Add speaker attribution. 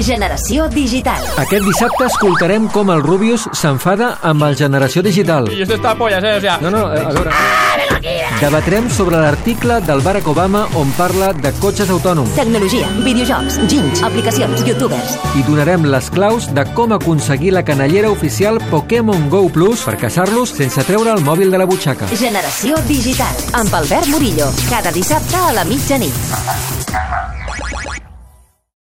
Speaker 1: Generació digital.
Speaker 2: Aquest dissabte escoltarem com el Rubius s'enfada amb el Generació Digital.
Speaker 3: Y esto está pollas, ¿eh? O sea,
Speaker 2: No, no, eh, a veure... eh. Debatrem sobre l'article del Barack Obama on parla de cotxes autònoms
Speaker 1: Tecnologia, videojocs, ginys, aplicacions, youtubers.
Speaker 2: i donarem les claus de com aconseguir la canallera oficial Pokémon GO Plus per caçar-los sense treure el mòbil de la butxaca.
Speaker 1: Generació digital. Amb Albert Murillo. Cada dissabte a la mitjanit.